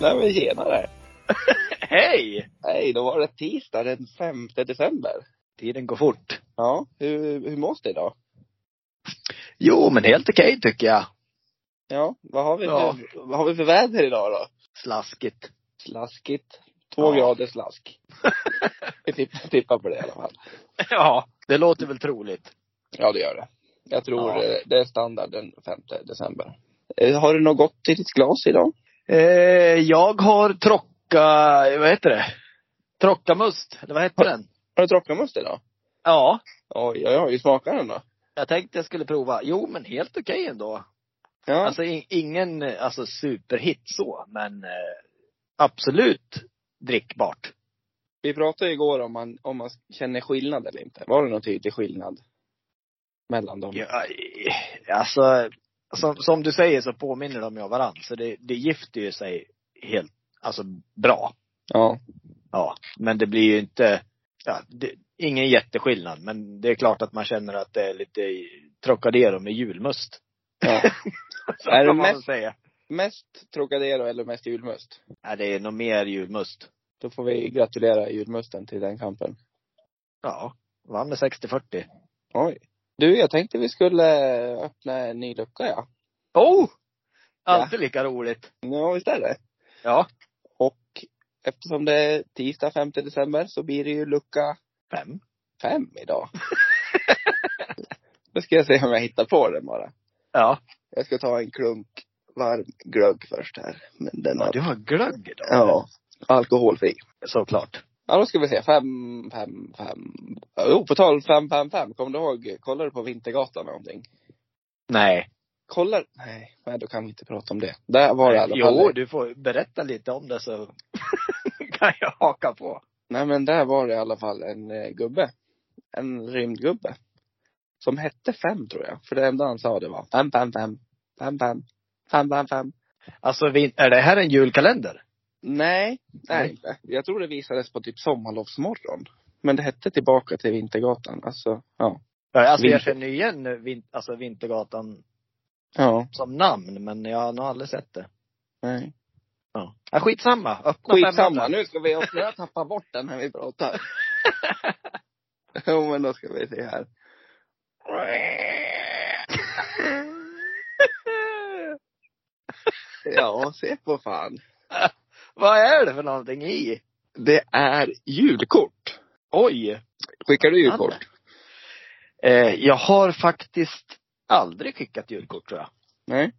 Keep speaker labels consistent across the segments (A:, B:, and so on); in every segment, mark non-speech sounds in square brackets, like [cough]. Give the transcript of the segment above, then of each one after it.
A: Nej men tjenare!
B: [laughs] Hej!
A: Hej, då var det tisdag den 5 december.
B: Tiden går fort.
A: Ja, hur, hur mås det idag?
B: Jo, men helt okej tycker jag.
A: Ja, vad har vi för,
B: Ja.
A: vad har vi för väder idag då?
B: Slaskigt.
A: Slaskigt. Två
B: Ja.
A: grader slask. Vi tippar, tippar på det i alla fall.
B: [laughs] Ja. Det låter väl troligt.
A: Ja, det gör det. Jag tror
B: Ja.
A: eh, det är standard den 5 december. Eh, Har du något gott i ditt glas idag?
B: Eh, jag har trocka, vad heter det? Trockamust, eller vad heter den?
A: Har du trockamust idag?
B: Ja,
A: Oj, oj, oj. Hur smakar den då?
B: jag tänkte jag skulle prova. Jo, men helt okej ändå.
A: Ja.
B: Alltså i- ingen, eh, alltså superhit så, men eh, absolut drickbart.
A: Vi pratade igår om man, om man känner skillnad eller inte. Var det någon tydlig skillnad? Mellan dem?
B: Ja, eh, alltså, som, som du säger så påminner de ju om varandra. Så det, det gifter ju sig helt, alltså bra.
A: Ja.
B: Ja, men det blir ju inte, ja, det, ingen jätteskillnad. Men det är klart att man känner att det är lite i- Trocadero med julmust.
A: ja.
B: [laughs] Så
A: Är det
B: kan man
A: mest-
B: väl säga.
A: mest Trocadero eller mest julmust?
B: Ja, det är nog mer julmust.
A: Då får vi gratulera julmusten till den kampen.
B: Ja, vann med 60-40.
A: Oj. Du, jag tänkte vi skulle öppna en ny lucka ja.
B: Oh! Alltid lika roligt.
A: Ja, visst är det.
B: Ja.
A: Och eftersom det är tisdag 5 december så blir det ju lucka
B: Fem.
A: fem
B: [laughs]
A: idag. Då ska jag se om jag hittar på den bara.
B: Ja.
A: Jag ska ta en klunk varm glögg först här. Men den
B: ja
A: har,
B: du har glögg idag.
A: ja, alkoholfri.
B: Såklart.
A: Ja, då ska vi se. Fem, fem, fem. Jo, på tal om fem, fem, fem. Kommer du ihåg? Kollar du på Vintergatan någonting?
B: Nej.
A: Kollar? Nej, nej, då kan vi inte prata om det. Där var det i alla fall.
B: Eh, Jo, du får berätta lite om det så [laughs] kan jag haka på.
A: Nej, men där var det i alla fall en eh, gubbe. En rymdgubbe. Som hette Fem, tror jag. För det enda han sa det var fem, fem, fem. Fem, fem. Fem, fem, fem.
B: Alltså, vi- är det här en julkalender?
A: Nej, nej
B: Nej.
A: inte. Jag tror det visades på typ sommarlovsmorgon. Men det hette Tillbaka till Vintergatan. Alltså, ja.
B: Ja, Alltså, jag
A: Vinter-
B: känner ju igen vin, alltså, Vintergatan
A: Ja,
B: som namn, men jag har nog aldrig sett det.
A: nej.
B: Ja. ja skitsamma. Öppna
A: Skitsamma,
B: 500.
A: nu ska vi också jag tappa bort den när vi pratar. jo men då ska vi se här. Ja, se på fan.
B: [laughs] Vad är det för någonting i?
A: Det är julkort.
B: Oj!
A: Skickar du julkort?
B: Eh, jag har faktiskt aldrig skickat julkort tror jag.
A: Nej.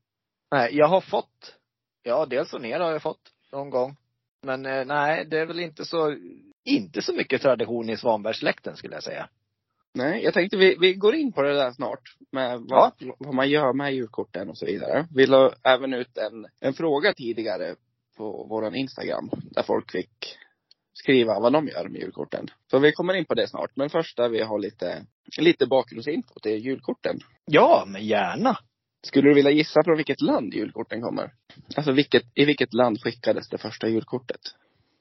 B: Nej, jag har fått. Ja, dels och ner har jag fått någon gång. Men eh, nej, det är väl inte så, inte så mycket tradition i Svanbergssläkten skulle jag säga.
A: Nej, jag tänkte vi, vi går in på det där snart. Med vad, vad man gör med julkorten och så vidare. Vi la även ut en, en fråga tidigare på våran Instagram. Där folk fick skriva vad de gör med julkorten. Så vi kommer in på det snart. Men först där vi har lite, lite bakgrundsinfo till julkorten.
B: Ja, men gärna.
A: Skulle du vilja gissa från vilket land julkorten kommer? Alltså vilket, i vilket land skickades det första julkortet?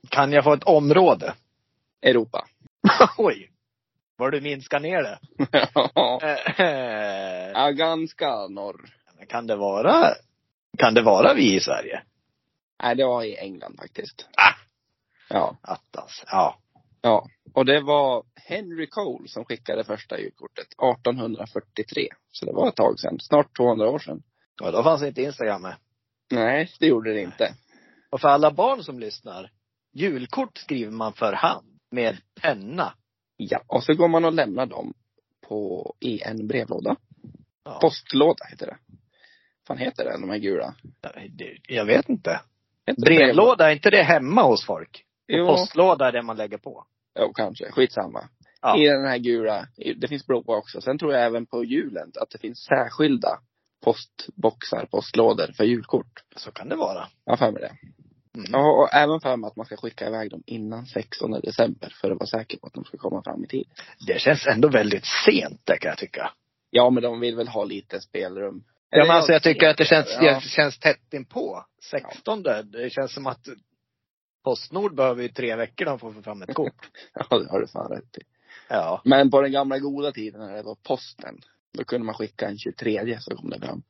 B: Kan jag få ett område? [laughs]
A: Europa. [laughs]
B: Oj! Var du minskar ner det. Eh, eh, [laughs]
A: ja, ganska norr.
B: kan det vara, kan det vara vi i Sverige?
A: Nej, det var i England faktiskt.
B: Ah.
A: Ja.
B: Attans. Ja.
A: Ja, och det var Henry Cole som skickade första julkortet 1843. Så det var ett tag sedan, snart 200 år sedan.
B: Och då fanns inte Instagram med.
A: Nej, det gjorde det inte.
B: Och för alla barn som lyssnar, julkort skriver man för hand med penna.
A: Ja, och så går man och lämnar dem på, i en brevlåda.
B: Ja.
A: Postlåda heter det. Vad fan heter den, de här gula?
B: Det- Jag vet inte.
A: Heter det
B: Brevlåda, är inte det hemma hos folk?
A: Jo,
B: Postlåda är det man lägger på.
A: jo, kanske. Skitsamma.
B: Ja.
A: I den här gula, i- det finns blåa också. Sen tror jag även på julen att det finns särskilda postboxar, postlådor för julkort.
B: Så kan det vara.
A: Jag har för mig det.
B: Mm.
A: Ja, och även för mig att man ska skicka iväg dem innan 16 december för att vara säker på att de ska komma fram i tid.
B: Det känns ändå väldigt sent det kan jag tycka.
A: Ja, men de vill väl ha lite spelrum.
B: Ja, men alltså jag tycker att det känns,
A: Ja,
B: det känns tätt inpå. 16 det känns som att Postnord behöver ju tre veckor de får få fram ett kort.
A: [laughs] ja, det har du fan rätt i.
B: [laughs] Ja.
A: Men på den gamla goda tiden när det var posten, då kunde man skicka en 23 så kom det fram.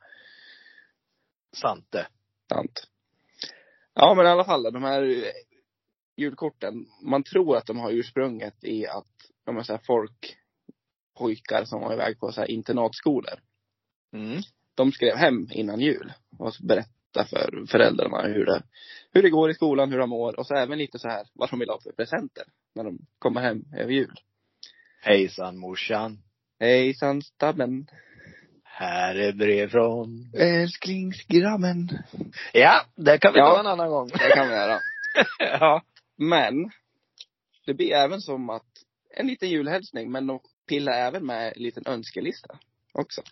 B: Sant det.
A: Sant. Ja, men i alla fall de här julkorten. Man tror att de har ursprunget i att de är så här folk, pojkar som var iväg på så här internatskolor.
B: Mm.
A: De skrev hem innan jul och berättade för föräldrarna hur det, hur det går i skolan, hur de mår och så även lite så här vad de vill ha för presenter när de kommer hem över jul.
B: Hejsan morsan.
A: Hejsan stabben,
B: Här är brev från.
A: älsklingsgrabben.
B: Ja, det kan vi
A: Ja.
B: ta en annan gång.
A: Det kan vi göra.
B: [laughs] ja.
A: Men det blir även som att en liten julhälsning men de pillar även med en liten önskelista också.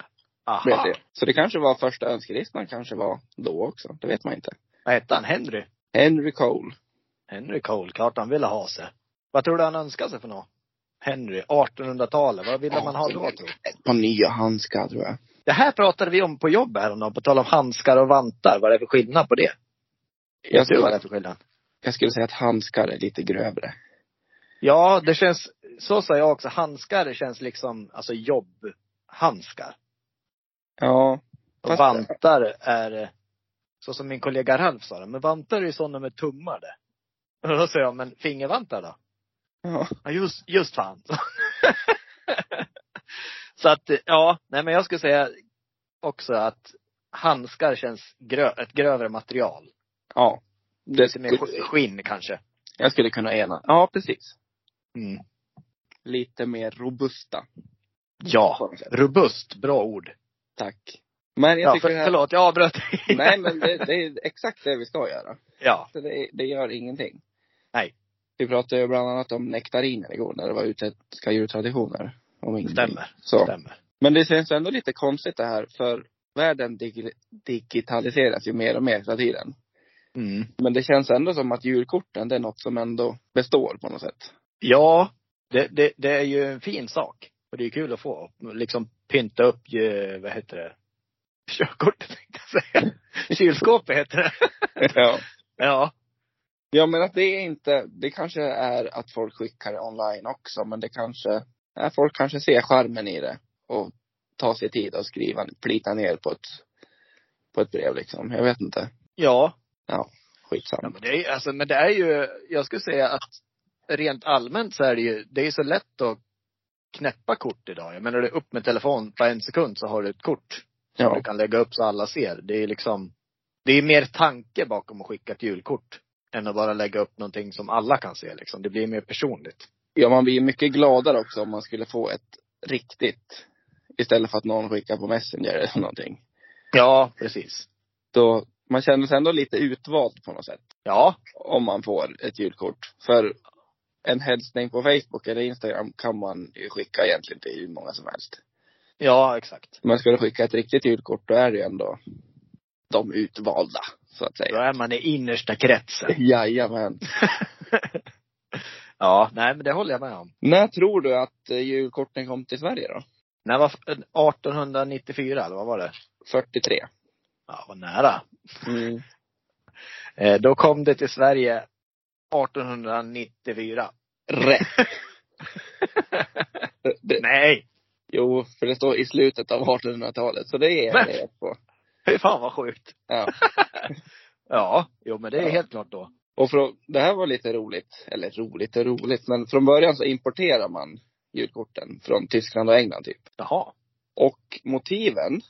A: Blev
B: Aha.
A: det. Så det kanske var första önskelistan kanske var då också. Det vet man inte.
B: Vad hette han? Henry?
A: Henry Cole.
B: Henry Cole, klart han ville ha sig. Vad tror du han önskade sig för något? Henry, 1800-talet, vad ville man ha då tror du?
A: Ett par nya handskar tror jag.
B: Det här pratade vi om på jobbet häromdagen, på tal om handskar och vantar. Vad är det för skillnad på det?
A: Jag
B: Vet du vad det
A: skulle,
B: är för skillnad?
A: jag skulle säga att handskar är lite grövre.
B: Ja, det känns, så sa jag också, handskar det känns liksom, alltså jobbhandskar.
A: Ja.
B: Och
A: Fast-
B: vantar är, eh, så som min kollega Ralf sa det, men vantar är ju sådana med tummar [laughs] det. Och då sa jag, men fingervantar då?
A: Ja.
B: Ja, just, just fan. [laughs] så att, ja, nej men jag skulle säga också att handskar känns grö, ett grövre material.
A: ja. Det
B: Lite mer sk-
A: skulle,
B: skinn kanske.
A: jag skulle kunna ena. Ja, precis.
B: Mm.
A: Lite mer robusta.
B: Ja.
A: på något sätt.
B: Robust, bra ord.
A: Tack. Men jag
B: Ja,
A: tycker
B: för,
A: det här,
B: Förlåt, jag avbröt.
A: Nej, men det, det är exakt det vi ska göra.
B: [laughs] ja.
A: Så det, det gör ingenting.
B: Nej.
A: Vi pratade ju bland annat om nektariner igår när det var utländska djurtraditioner. Om ingenting.
B: Stämmer.
A: Så.
B: Stämmer.
A: Men det känns ändå lite konstigt det här för världen dig- digitaliseras ju mer och mer hela tiden.
B: Mm.
A: Men det känns ändå som att julkorten det är något som ändå består på
B: [laughs]
A: något sätt.
B: Ja, det, det, det är ju en fin sak. Och det är kul att få. Liksom pynta upp, ju, vad heter det? Körkortet tänkte jag säga.
A: [laughs]
B: Kylskåpet heter det.
A: ja.
B: Ja.
A: Jag menar att det är inte, det kanske är att folk skickar det online också men det kanske, nej, folk kanske ser charmen i det och tar sig tid att skriva, plita ner på ett, på ett brev liksom. Jag vet inte.
B: Ja. Ja,
A: Skitsamma.
B: men, det är, alltså, men det är ju, jag skulle säga att rent allmänt så är det ju, det är så lätt att knäppa kort idag. Jag menar, det är upp med telefon, på en sekund så har du ett kort. Som
A: Ja.
B: du kan lägga upp så alla ser. Det är liksom, det är mer tanke bakom att skicka ett julkort. Än att bara lägga upp någonting som alla kan se liksom. Det blir mer personligt.
A: ja, man blir mycket gladare också om man skulle få ett riktigt istället för att någon skickar på Messenger eller [laughs] någonting.
B: Ja, precis.
A: Då, man känner sig ändå lite utvald på något sätt.
B: Ja,
A: om man får ett julkort. För en hälsning på Facebook eller Instagram kan man ju skicka egentligen till hur många som helst.
B: ja exakt.
A: Men ska du skicka ett riktigt julkort då är det ju ändå de utvalda, så att
B: Då
A: säga.
B: är man i innersta kretsen.
A: [laughs] Jajamän.
B: Ja, nej men det håller jag med om.
A: När tror du att eh, julkorten kom till Sverige då?
B: När var, 1894 eller vad var det?
A: 43.
B: Ja, vad nära.
A: Mm.
B: Eh, då kom det till Sverige 1894.
A: Rätt. Det- det,
B: Nej!
A: jo, för det står i slutet av 1800-talet, så det är
B: Men-
A: jag rätt på.
B: Fy fan vad sjukt.
A: Ja.
B: [laughs] Ja, jo men det är
A: Ja.
B: helt klart då.
A: Och från, det här var lite roligt, eller roligt och roligt, men från början så importerar man julkorten från Tyskland och England typ.
B: Jaha.
A: Och motiven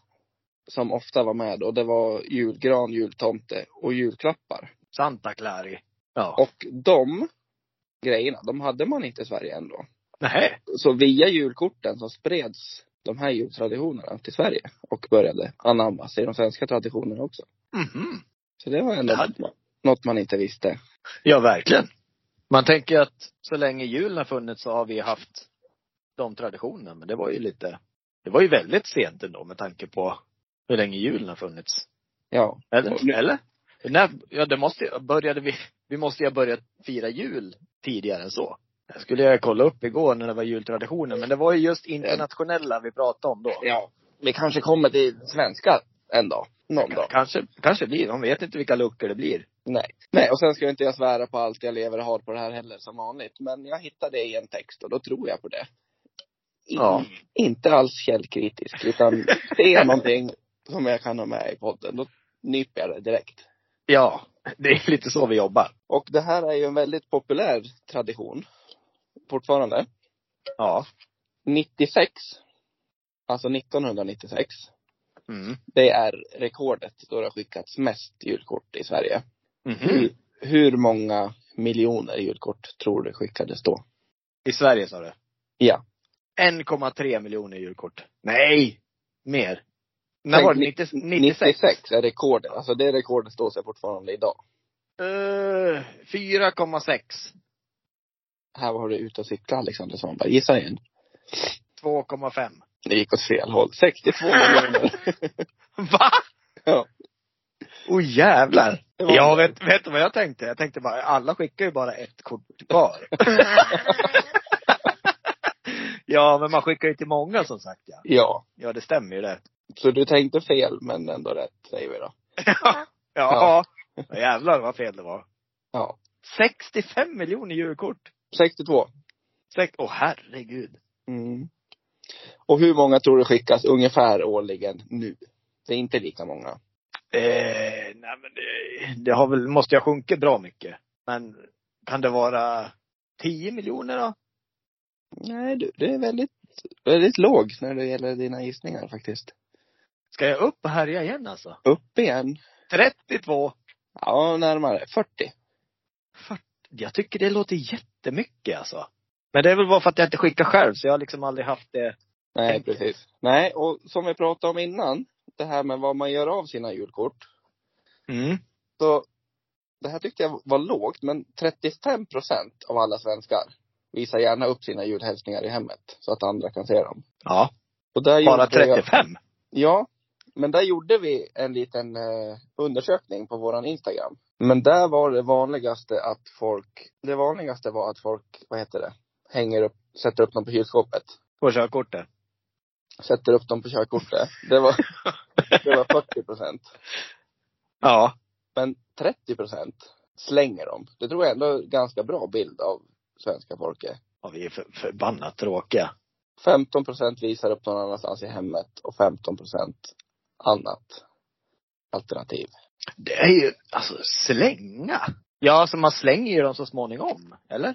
A: som ofta var med då, det var julgran, jultomte och julklappar.
B: Santa Clari. Ja.
A: Och de grejerna, de hade man inte i Sverige ändå.
B: Nej.
A: Så via julkorten så spreds de här jultraditionerna till Sverige och började anammas i de svenska traditionerna också.
B: Mhm.
A: Så det var ändå
B: Det hade
A: något man inte visste.
B: Ja, verkligen. Man tänker att så länge julen har funnits så har vi haft de traditionerna. Men det var ju lite, det var ju väldigt sent ändå med tanke på hur länge julen har funnits.
A: Ja.
B: Eller?
A: Och nu-
B: Eller? När, ja, det måste ju- började vi, vi måste ju ha börjat fira jul tidigare än så. Det skulle jag kolla upp igår när det var jultraditioner, men det var ju just internationella vi pratade om då.
A: Ja. Vi kanske kommer till svenska en dag. Någon dag.
B: Kanske, kanske blir, man vet inte vilka luckor det blir.
A: Nej. Nej, och sen ska inte jag svära på allt jag lever och har på det här heller som vanligt. Men jag hittade det i en text och då tror jag på det. I,
B: Ja.
A: Inte alls källkritisk, utan ser jag någonting som jag kan ha med i podden, då nyper jag det direkt.
B: Ja, det är lite så vi jobbar.
A: Och det här är ju en väldigt populär tradition fortfarande.
B: Ja.
A: 96, alltså 1996,
B: Mm.
A: det är rekordet då det har skickats mest julkort i Sverige.
B: Mhm.
A: Hur många miljoner julkort tror du skickades då?
B: I Sverige sa du?
A: Ja.
B: 1,3 miljoner julkort. Nej! Mer. När
A: Nej,
B: var det?
A: ni-
B: 90, 96?
A: 96 är rekordet. Alltså det rekordet står sig fortfarande idag.
B: Eh, 4,6.
A: Här har du ute och cykla liksom, Alexander Svanberg. Gissa igen.
B: 2,5.
A: Det gick åt fel håll. 62 miljoner.
B: Va?
A: Ja.
B: Åh jävlar.
A: Det var-
B: Ja, vet, vet du vad jag tänkte? Jag tänkte bara, alla skickar ju bara ett kort [laughs] var. ja, men man skickar ju till många som sagt ja.
A: Ja.
B: Ja, det stämmer ju det.
A: Så du tänkte fel men ändå rätt säger vi då.
B: [laughs] ja. ja. Jävlar vad fel det var.
A: Ja.
B: 65 miljoner julkort.
A: 62.
B: Sex- Åh herregud.
A: Mm. Och hur många tror du skickas ungefär årligen nu? Det är inte lika många.
B: Eh, nej men det, det har väl, måste jag sjunka bra mycket. Men kan det vara 10 miljoner då?
A: Nej du, det är väldigt, väldigt låg när det gäller dina gissningar faktiskt.
B: Ska jag upp och härja igen alltså?
A: Upp igen.
B: 32.
A: Ja, närmare. 40.
B: Jag tycker det låter jättemycket alltså. Men det är väl bara för att jag inte skickar själv, så jag har liksom aldrig haft det.
A: Nej,
B: Tänk.
A: precis. Nej, och som vi pratade om innan, det här med vad man gör av sina julkort.
B: Mm.
A: Så det här tyckte jag var lågt, men 35 procent av alla svenskar visar gärna upp sina julhälsningar i hemmet så att andra kan se dem.
B: Ja.
A: Och där
B: Bara
A: gjorde jag-
B: 35?
A: Ja, men där gjorde vi en liten eh, undersökning på våran Instagram. Men där var det vanligaste att folk, det vanligaste var att folk, vad heter det, hänger upp, sätter upp dem på kylskåpet.
B: På körkortet?
A: Sätter upp dem på körkortet. Det var, det var 40 procent.
B: Ja.
A: Men 30 procent slänger dem. Det tror jag ändå är en ganska bra bild av svenska folket.
B: ja vi är för, förbannat tråkiga.
A: 15 procent visar upp någon annanstans i hemmet och 15 procent annat alternativ.
B: Det är ju, alltså slänga. Ja, alltså man slänger ju dem så småningom. Eller?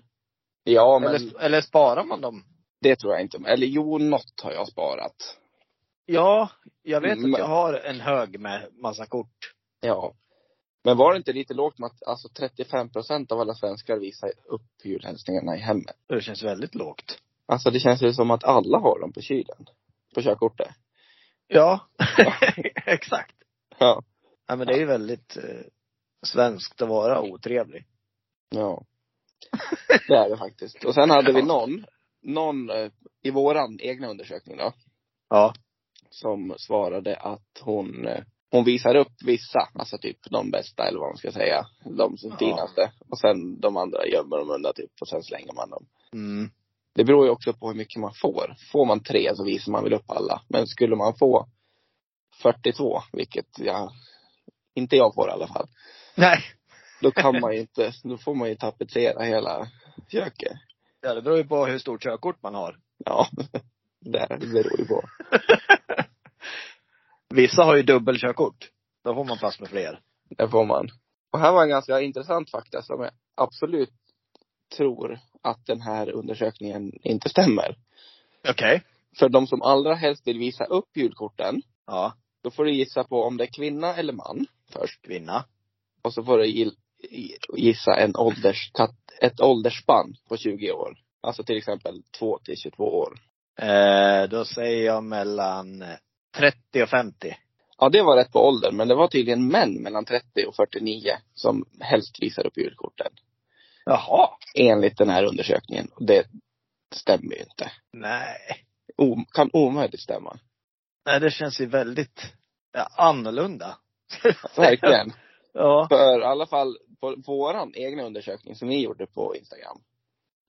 A: Ja, men
B: eller? Eller sparar man dem?
A: det tror jag inte. Eller jo, något har jag sparat.
B: Ja, jag vet
A: Mm, Men-
B: att jag har en hög med massa kort.
A: Ja. Men var det inte lite lågt med att alltså 35 procent av alla svenskar visar upp julhälsningarna i hemmet?
B: Det känns väldigt lågt.
A: Alltså det känns ju som att alla har dem på kylen. På körkortet.
B: Ja, [laughs] exakt.
A: Ja.
B: Ja, men det är ju väldigt eh, svenskt att vara otrevlig.
A: Ja. Det är det faktiskt. Och sen hade vi någon, någon eh, i våran egna undersökning då,
B: Ja.
A: som svarade att hon, eh, hon visar upp vissa, alltså typ de bästa eller vad man ska säga, de som
B: Ja.
A: finaste. Och sen de andra gömmer de undan typ och sen slänger man dem.
B: Mm.
A: Det beror ju också på hur mycket man får. Får man tre så visar man väl upp alla. Men skulle man få 42, vilket jag, inte jag får i alla fall,
B: Nej.
A: då kan man ju inte, då får man ju tapetsera hela köket.
B: Ja, det beror ju på hur stort körkort man har.
A: Ja, [laughs] det beror ju på.
B: Vissa har ju dubbelkörkort. Då får man plats med fler.
A: Det får man. Och här var en ganska intressant fakta som jag absolut tror att den här undersökningen inte stämmer.
B: Okej.
A: För de som allra helst vill visa upp julkorten,
B: Ja.
A: då får du gissa på om det är kvinna eller man först.
B: Kvinna.
A: Och så får du gill- i- gissa en ålderskatt, ett åldersspann på 20 år. Alltså till exempel 2 till 22 år.
B: Eh, då säger jag mellan 30 och 50.
A: Ja, det var rätt på åldern, men det var tydligen män mellan 30 och 49 som helst visar upp julkorten.
B: Jaha.
A: Enligt den här undersökningen. Och det stämmer ju inte.
B: Nej.
A: O- kan omöjligt stämma.
B: Nej, det känns ju väldigt ja, annorlunda.
A: Verkligen.
B: [laughs] Ja.
A: För i alla fall på våran egna undersökning som vi gjorde på Instagram.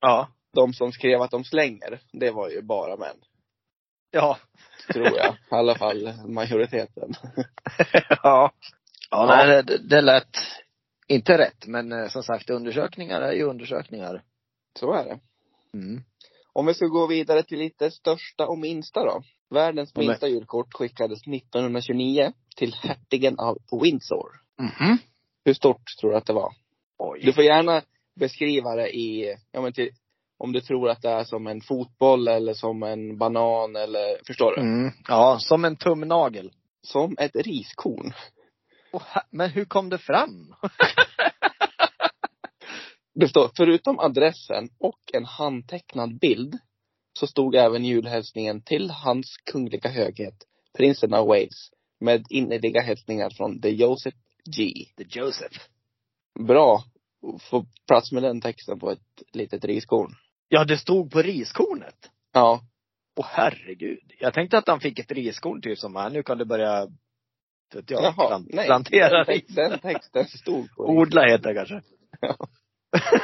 B: Ja.
A: De som skrev att de slänger, det var ju bara män.
B: Ja.
A: Tror jag. I alla fall majoriteten.
B: Ja. Ja,
A: Ja.
B: nej, det- det, det lät inte rätt. Men eh, som sagt, undersökningar är ju undersökningar.
A: Så är det.
B: Mm.
A: Om vi ska gå vidare till lite största och minsta då. Världens
B: Ja, men-
A: minsta julkort skickades 1929 till hertigen av Windsor.
B: Mhm.
A: Hur stort tror du att det var? Du
B: Oj.
A: får gärna beskriva det i, ja men till, om du tror att det är som en fotboll eller som en banan eller, förstår du?
B: Mm. Ja, som en tumnagel.
A: Som ett riskorn.
B: Åh, ha- men hur kom det fram?
A: Det står, förutom adressen och en handtecknad bild, så stod även julhälsningen till hans kungliga höghet, prinsen av Wales, med innerliga hälsningar från The Joseph G.
B: The Joseph.
A: Bra. Få plats med den texten på ett litet riskorn.
B: Ja, det stod på riskornet.
A: Ja.
B: Åh herregud. Jag tänkte att han fick ett riskorn typ som här, nu kan du börja vet jag, plant, plantera
A: den,
B: ris.
A: den texten stod
B: [laughs]
A: på ris.
B: Odla heter det kanske.
A: Ja.
B: [laughs]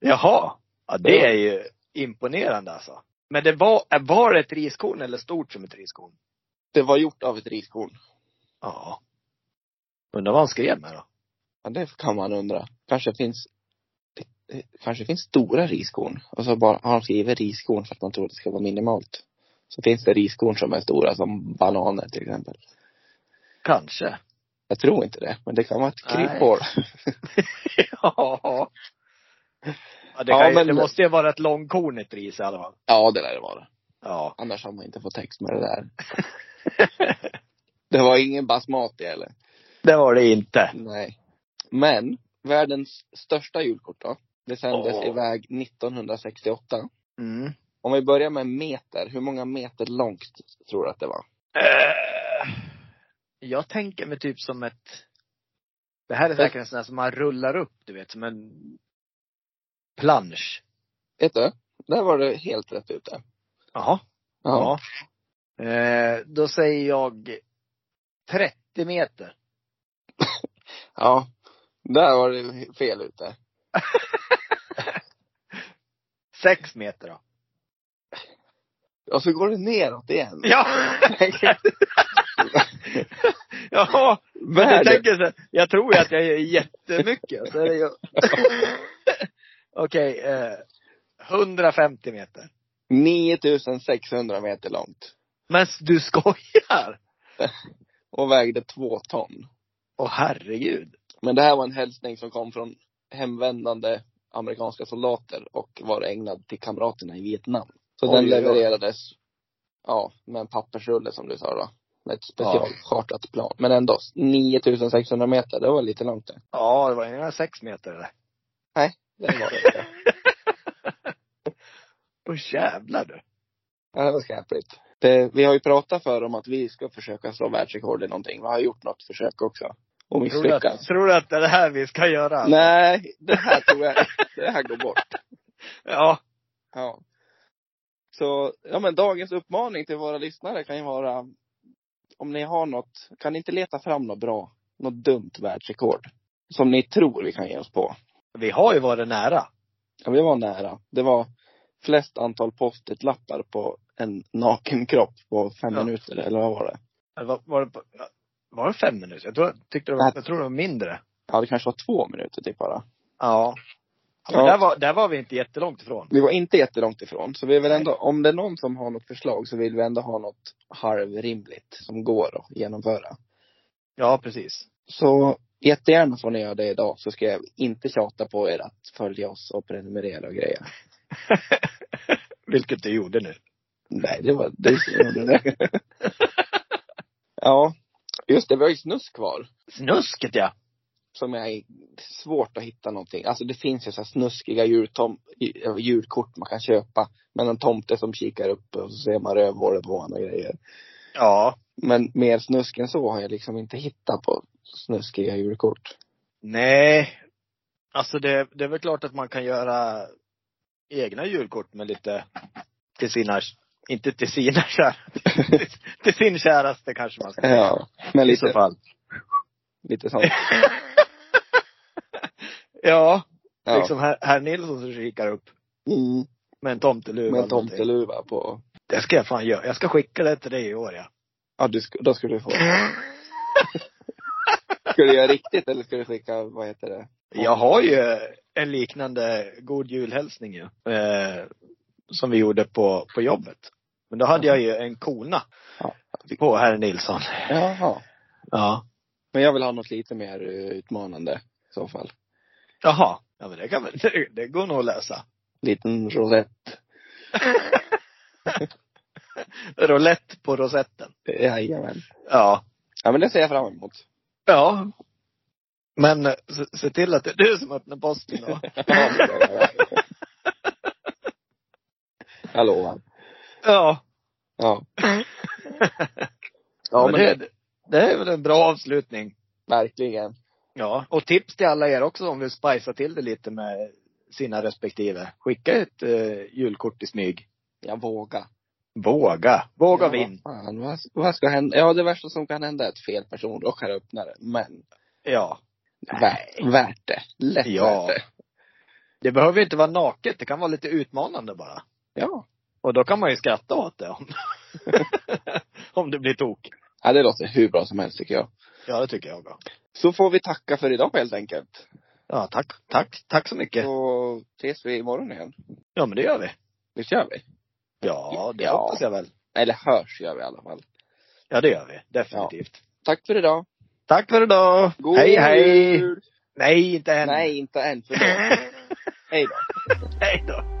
B: Jaha. Ja, det är ju imponerande alltså. Men det var, var det ett riskorn eller stort som ett riskorn?
A: Det var gjort av ett riskorn.
B: Ja. Undrar vad han skrev med då?
A: Ja, det kan man undra. Kanske finns eh, Kanske finns stora riskorn. Och så bara har de skrivit riskorn för att man tror att det ska vara minimalt. Så finns det riskorn som är stora som bananer till exempel.
B: Kanske.
A: Jag tror inte det, men det kan vara ett
B: Nej.
A: kryphål.
B: [laughs] ja. Ja, det,
A: Ja,
B: kan, ju-
A: men-
B: det måste ju vara ett långkornigt ris i alla fall.
A: Ja, det lär det vara.
B: Ja.
A: Annars har man inte fått text med
B: [laughs]
A: det där. Det var ingen basmati eller?
B: det var det inte.
A: Nej. Men världens största julkort då. Det sändes
B: Åh.
A: iväg 1968.
B: Mm.
A: Om vi börjar med meter, hur många meter långt tror du att det var?
B: Eh, Jag tänker mig typ som ett Det här är säkert en sån här som man rullar upp, du vet, som en plansch.
A: Vet du? Där var du helt rätt ute.
B: Jaha. Ja. Eh, då säger jag 30 meter.
A: Ja. Där var du fel ute.
B: 6 meter då.
A: Och så går det neråt igen.
B: [laughs] Ja! Jaha! Men jag,
A: Världen.
B: tänker så, här, jag tror ju att jag gör jättemycket. Så är det ju... [laughs] Okej, eh, 150 meter.
A: 9600 meter långt.
B: Men s- du skojar?
A: Och vägde två ton.
B: Åh herregud.
A: Men det här var en hälsning som kom från hemvändande amerikanska soldater och var ägnad till kamraterna i Vietnam. Så
B: Oj, oj,
A: den
B: oj.
A: levererades, ja, med en pappersrulle som du sa då. Med ett
B: Ja.
A: specialchartat plan. Men ändå, 9600 meter, det var lite långt det.
B: Ja, det var inga sex meter eller?
A: Det var det
B: [laughs]
A: inte.
B: Åh jävlar du.
A: Ja, det var skräpligt. Det, vi har ju pratat för om att vi ska försöka slå världsrekord i någonting. Vi har gjort något försök också. Och
B: Tror du, att,
A: misslyckats.
B: tror du att det är det här vi ska göra?
A: Nej, det här tror jag, det här går bort.
B: Ja.
A: Ja. Så, ja men dagens uppmaning till våra lyssnare kan ju vara om ni har något, kan ni inte leta fram något bra, något dumt världsrekord som ni tror vi kan ge oss på?
B: Vi har ju varit nära.
A: Ja, vi var nära. Det var flest antal post-it-lappar på en naken kropp på fem
B: Ja.
A: minuter, eller vad var det?
B: Eller Var, var, det, på- var det fem minuter? Jag tror, tyckte det var, jag tror det var mindre.
A: Ja, det kanske var två minuter typ bara.
B: Ja. Men
A: Ja.
B: Där, var, där var vi inte jättelångt ifrån.
A: Vi var inte jättelångt ifrån, så vi vill
B: Nej.
A: ändå, om det är någon som har något förslag så vill vi ändå ha något halvrimligt som går att genomföra.
B: Ja, precis.
A: Så jättegärna får ni göra det idag så ska jag inte tjata på er att följa oss och prenumerera och grejer.
B: Vilket du gjorde nu.
A: Nej, det var du som gjorde det. Ja, just det. Vi har ju snus kvar.
B: Snusket ja.
A: Som är svårt att hitta någonting. Alltså det finns ju så här snuskiga jultom, julkort man kan köpa. Men en tomte som kikar upp och så ser man rövhålet på honom och grejer.
B: Ja.
A: Men mer snusk än så har jag liksom inte hittat på snuskiga julkort.
B: Nej. Alltså det, det är väl klart att man kan göra egna julkort med lite till sina, inte till sina
A: [laughs]
B: kära, till sin käraste kanske man ska säga.
A: Ja, men
B: I så
A: lite,
B: fall.
A: lite sånt.
B: ja,
A: Ja.
B: [laughs] liksom herr, herr Nilsson som kikar upp
A: Mm,
B: med en tomteluva.
A: med en
B: eller någonting.
A: tomteluva på
B: Det ska jag fan göra. Jag ska skicka det till dig i år ja.
A: Ja, du, sk- då skulle du få. [laughs] Ska du göra riktigt eller ska du skicka, vad heter det?
B: Jag har ju en liknande god julhälsning ju. Eh, som vi gjorde på, på jobbet. Men då hade jag ju en kona
A: Ja.
B: på herr Nilsson.
A: Jaha.
B: Ja.
A: Men jag vill ha något lite mer eh, utmanande i så fall.
B: Jaha. Ja men det kan väl, det, det går nog att lösa.
A: Liten rosett.
B: [laughs] Roulette på rosetten.
A: Jajamän.
B: Ja.
A: Ja men det ser jag fram emot.
B: Ja. Men eh, se- se till att det är du som öppnar posten [laughs] då.
A: [laughs] jag lovar.
B: Ja.
A: Ja. Ja
B: men det, det är väl en bra avslutning.
A: verkligen.
B: Ja, och tips till alla er också om vi spajsar till det lite med sina respektive. Skicka ett eh, julkort i smyg.
A: Jag vågar.
B: Våga. Våga
A: ja,
B: vinn.
A: vad Fan, vad, vad ska hända? Ja det värsta som kan hända är att fel person råkar öppna det. Men
B: Ja.
A: värt, värt det. Lätt
B: Ja.
A: värt det.
B: Det behöver inte vara naket, det kan vara lite utmanande bara.
A: Ja.
B: Och då kan man ju skratta åt det [laughs] om, om det blir tok.
A: Ja det låter hur bra som helst tycker jag.
B: Ja, det tycker jag också.
A: Så får vi tacka för idag helt enkelt.
B: Ja, tack, tack, tack så mycket.
A: Så ses vi imorgon igen.
B: Ja, men det gör vi.
A: Det kör vi.
B: Ja, det
A: Ja.
B: hoppas jag väl.
A: Eller hörs gör vi i alla fall.
B: Ja, det gör vi. Definitivt.
A: Tack för idag.
B: Tack för idag.
A: God
B: hej, hej.
A: jul.
B: Nej, inte än.
A: Nej, inte än. Förlåt. Hej då.
B: [laughs] hej då.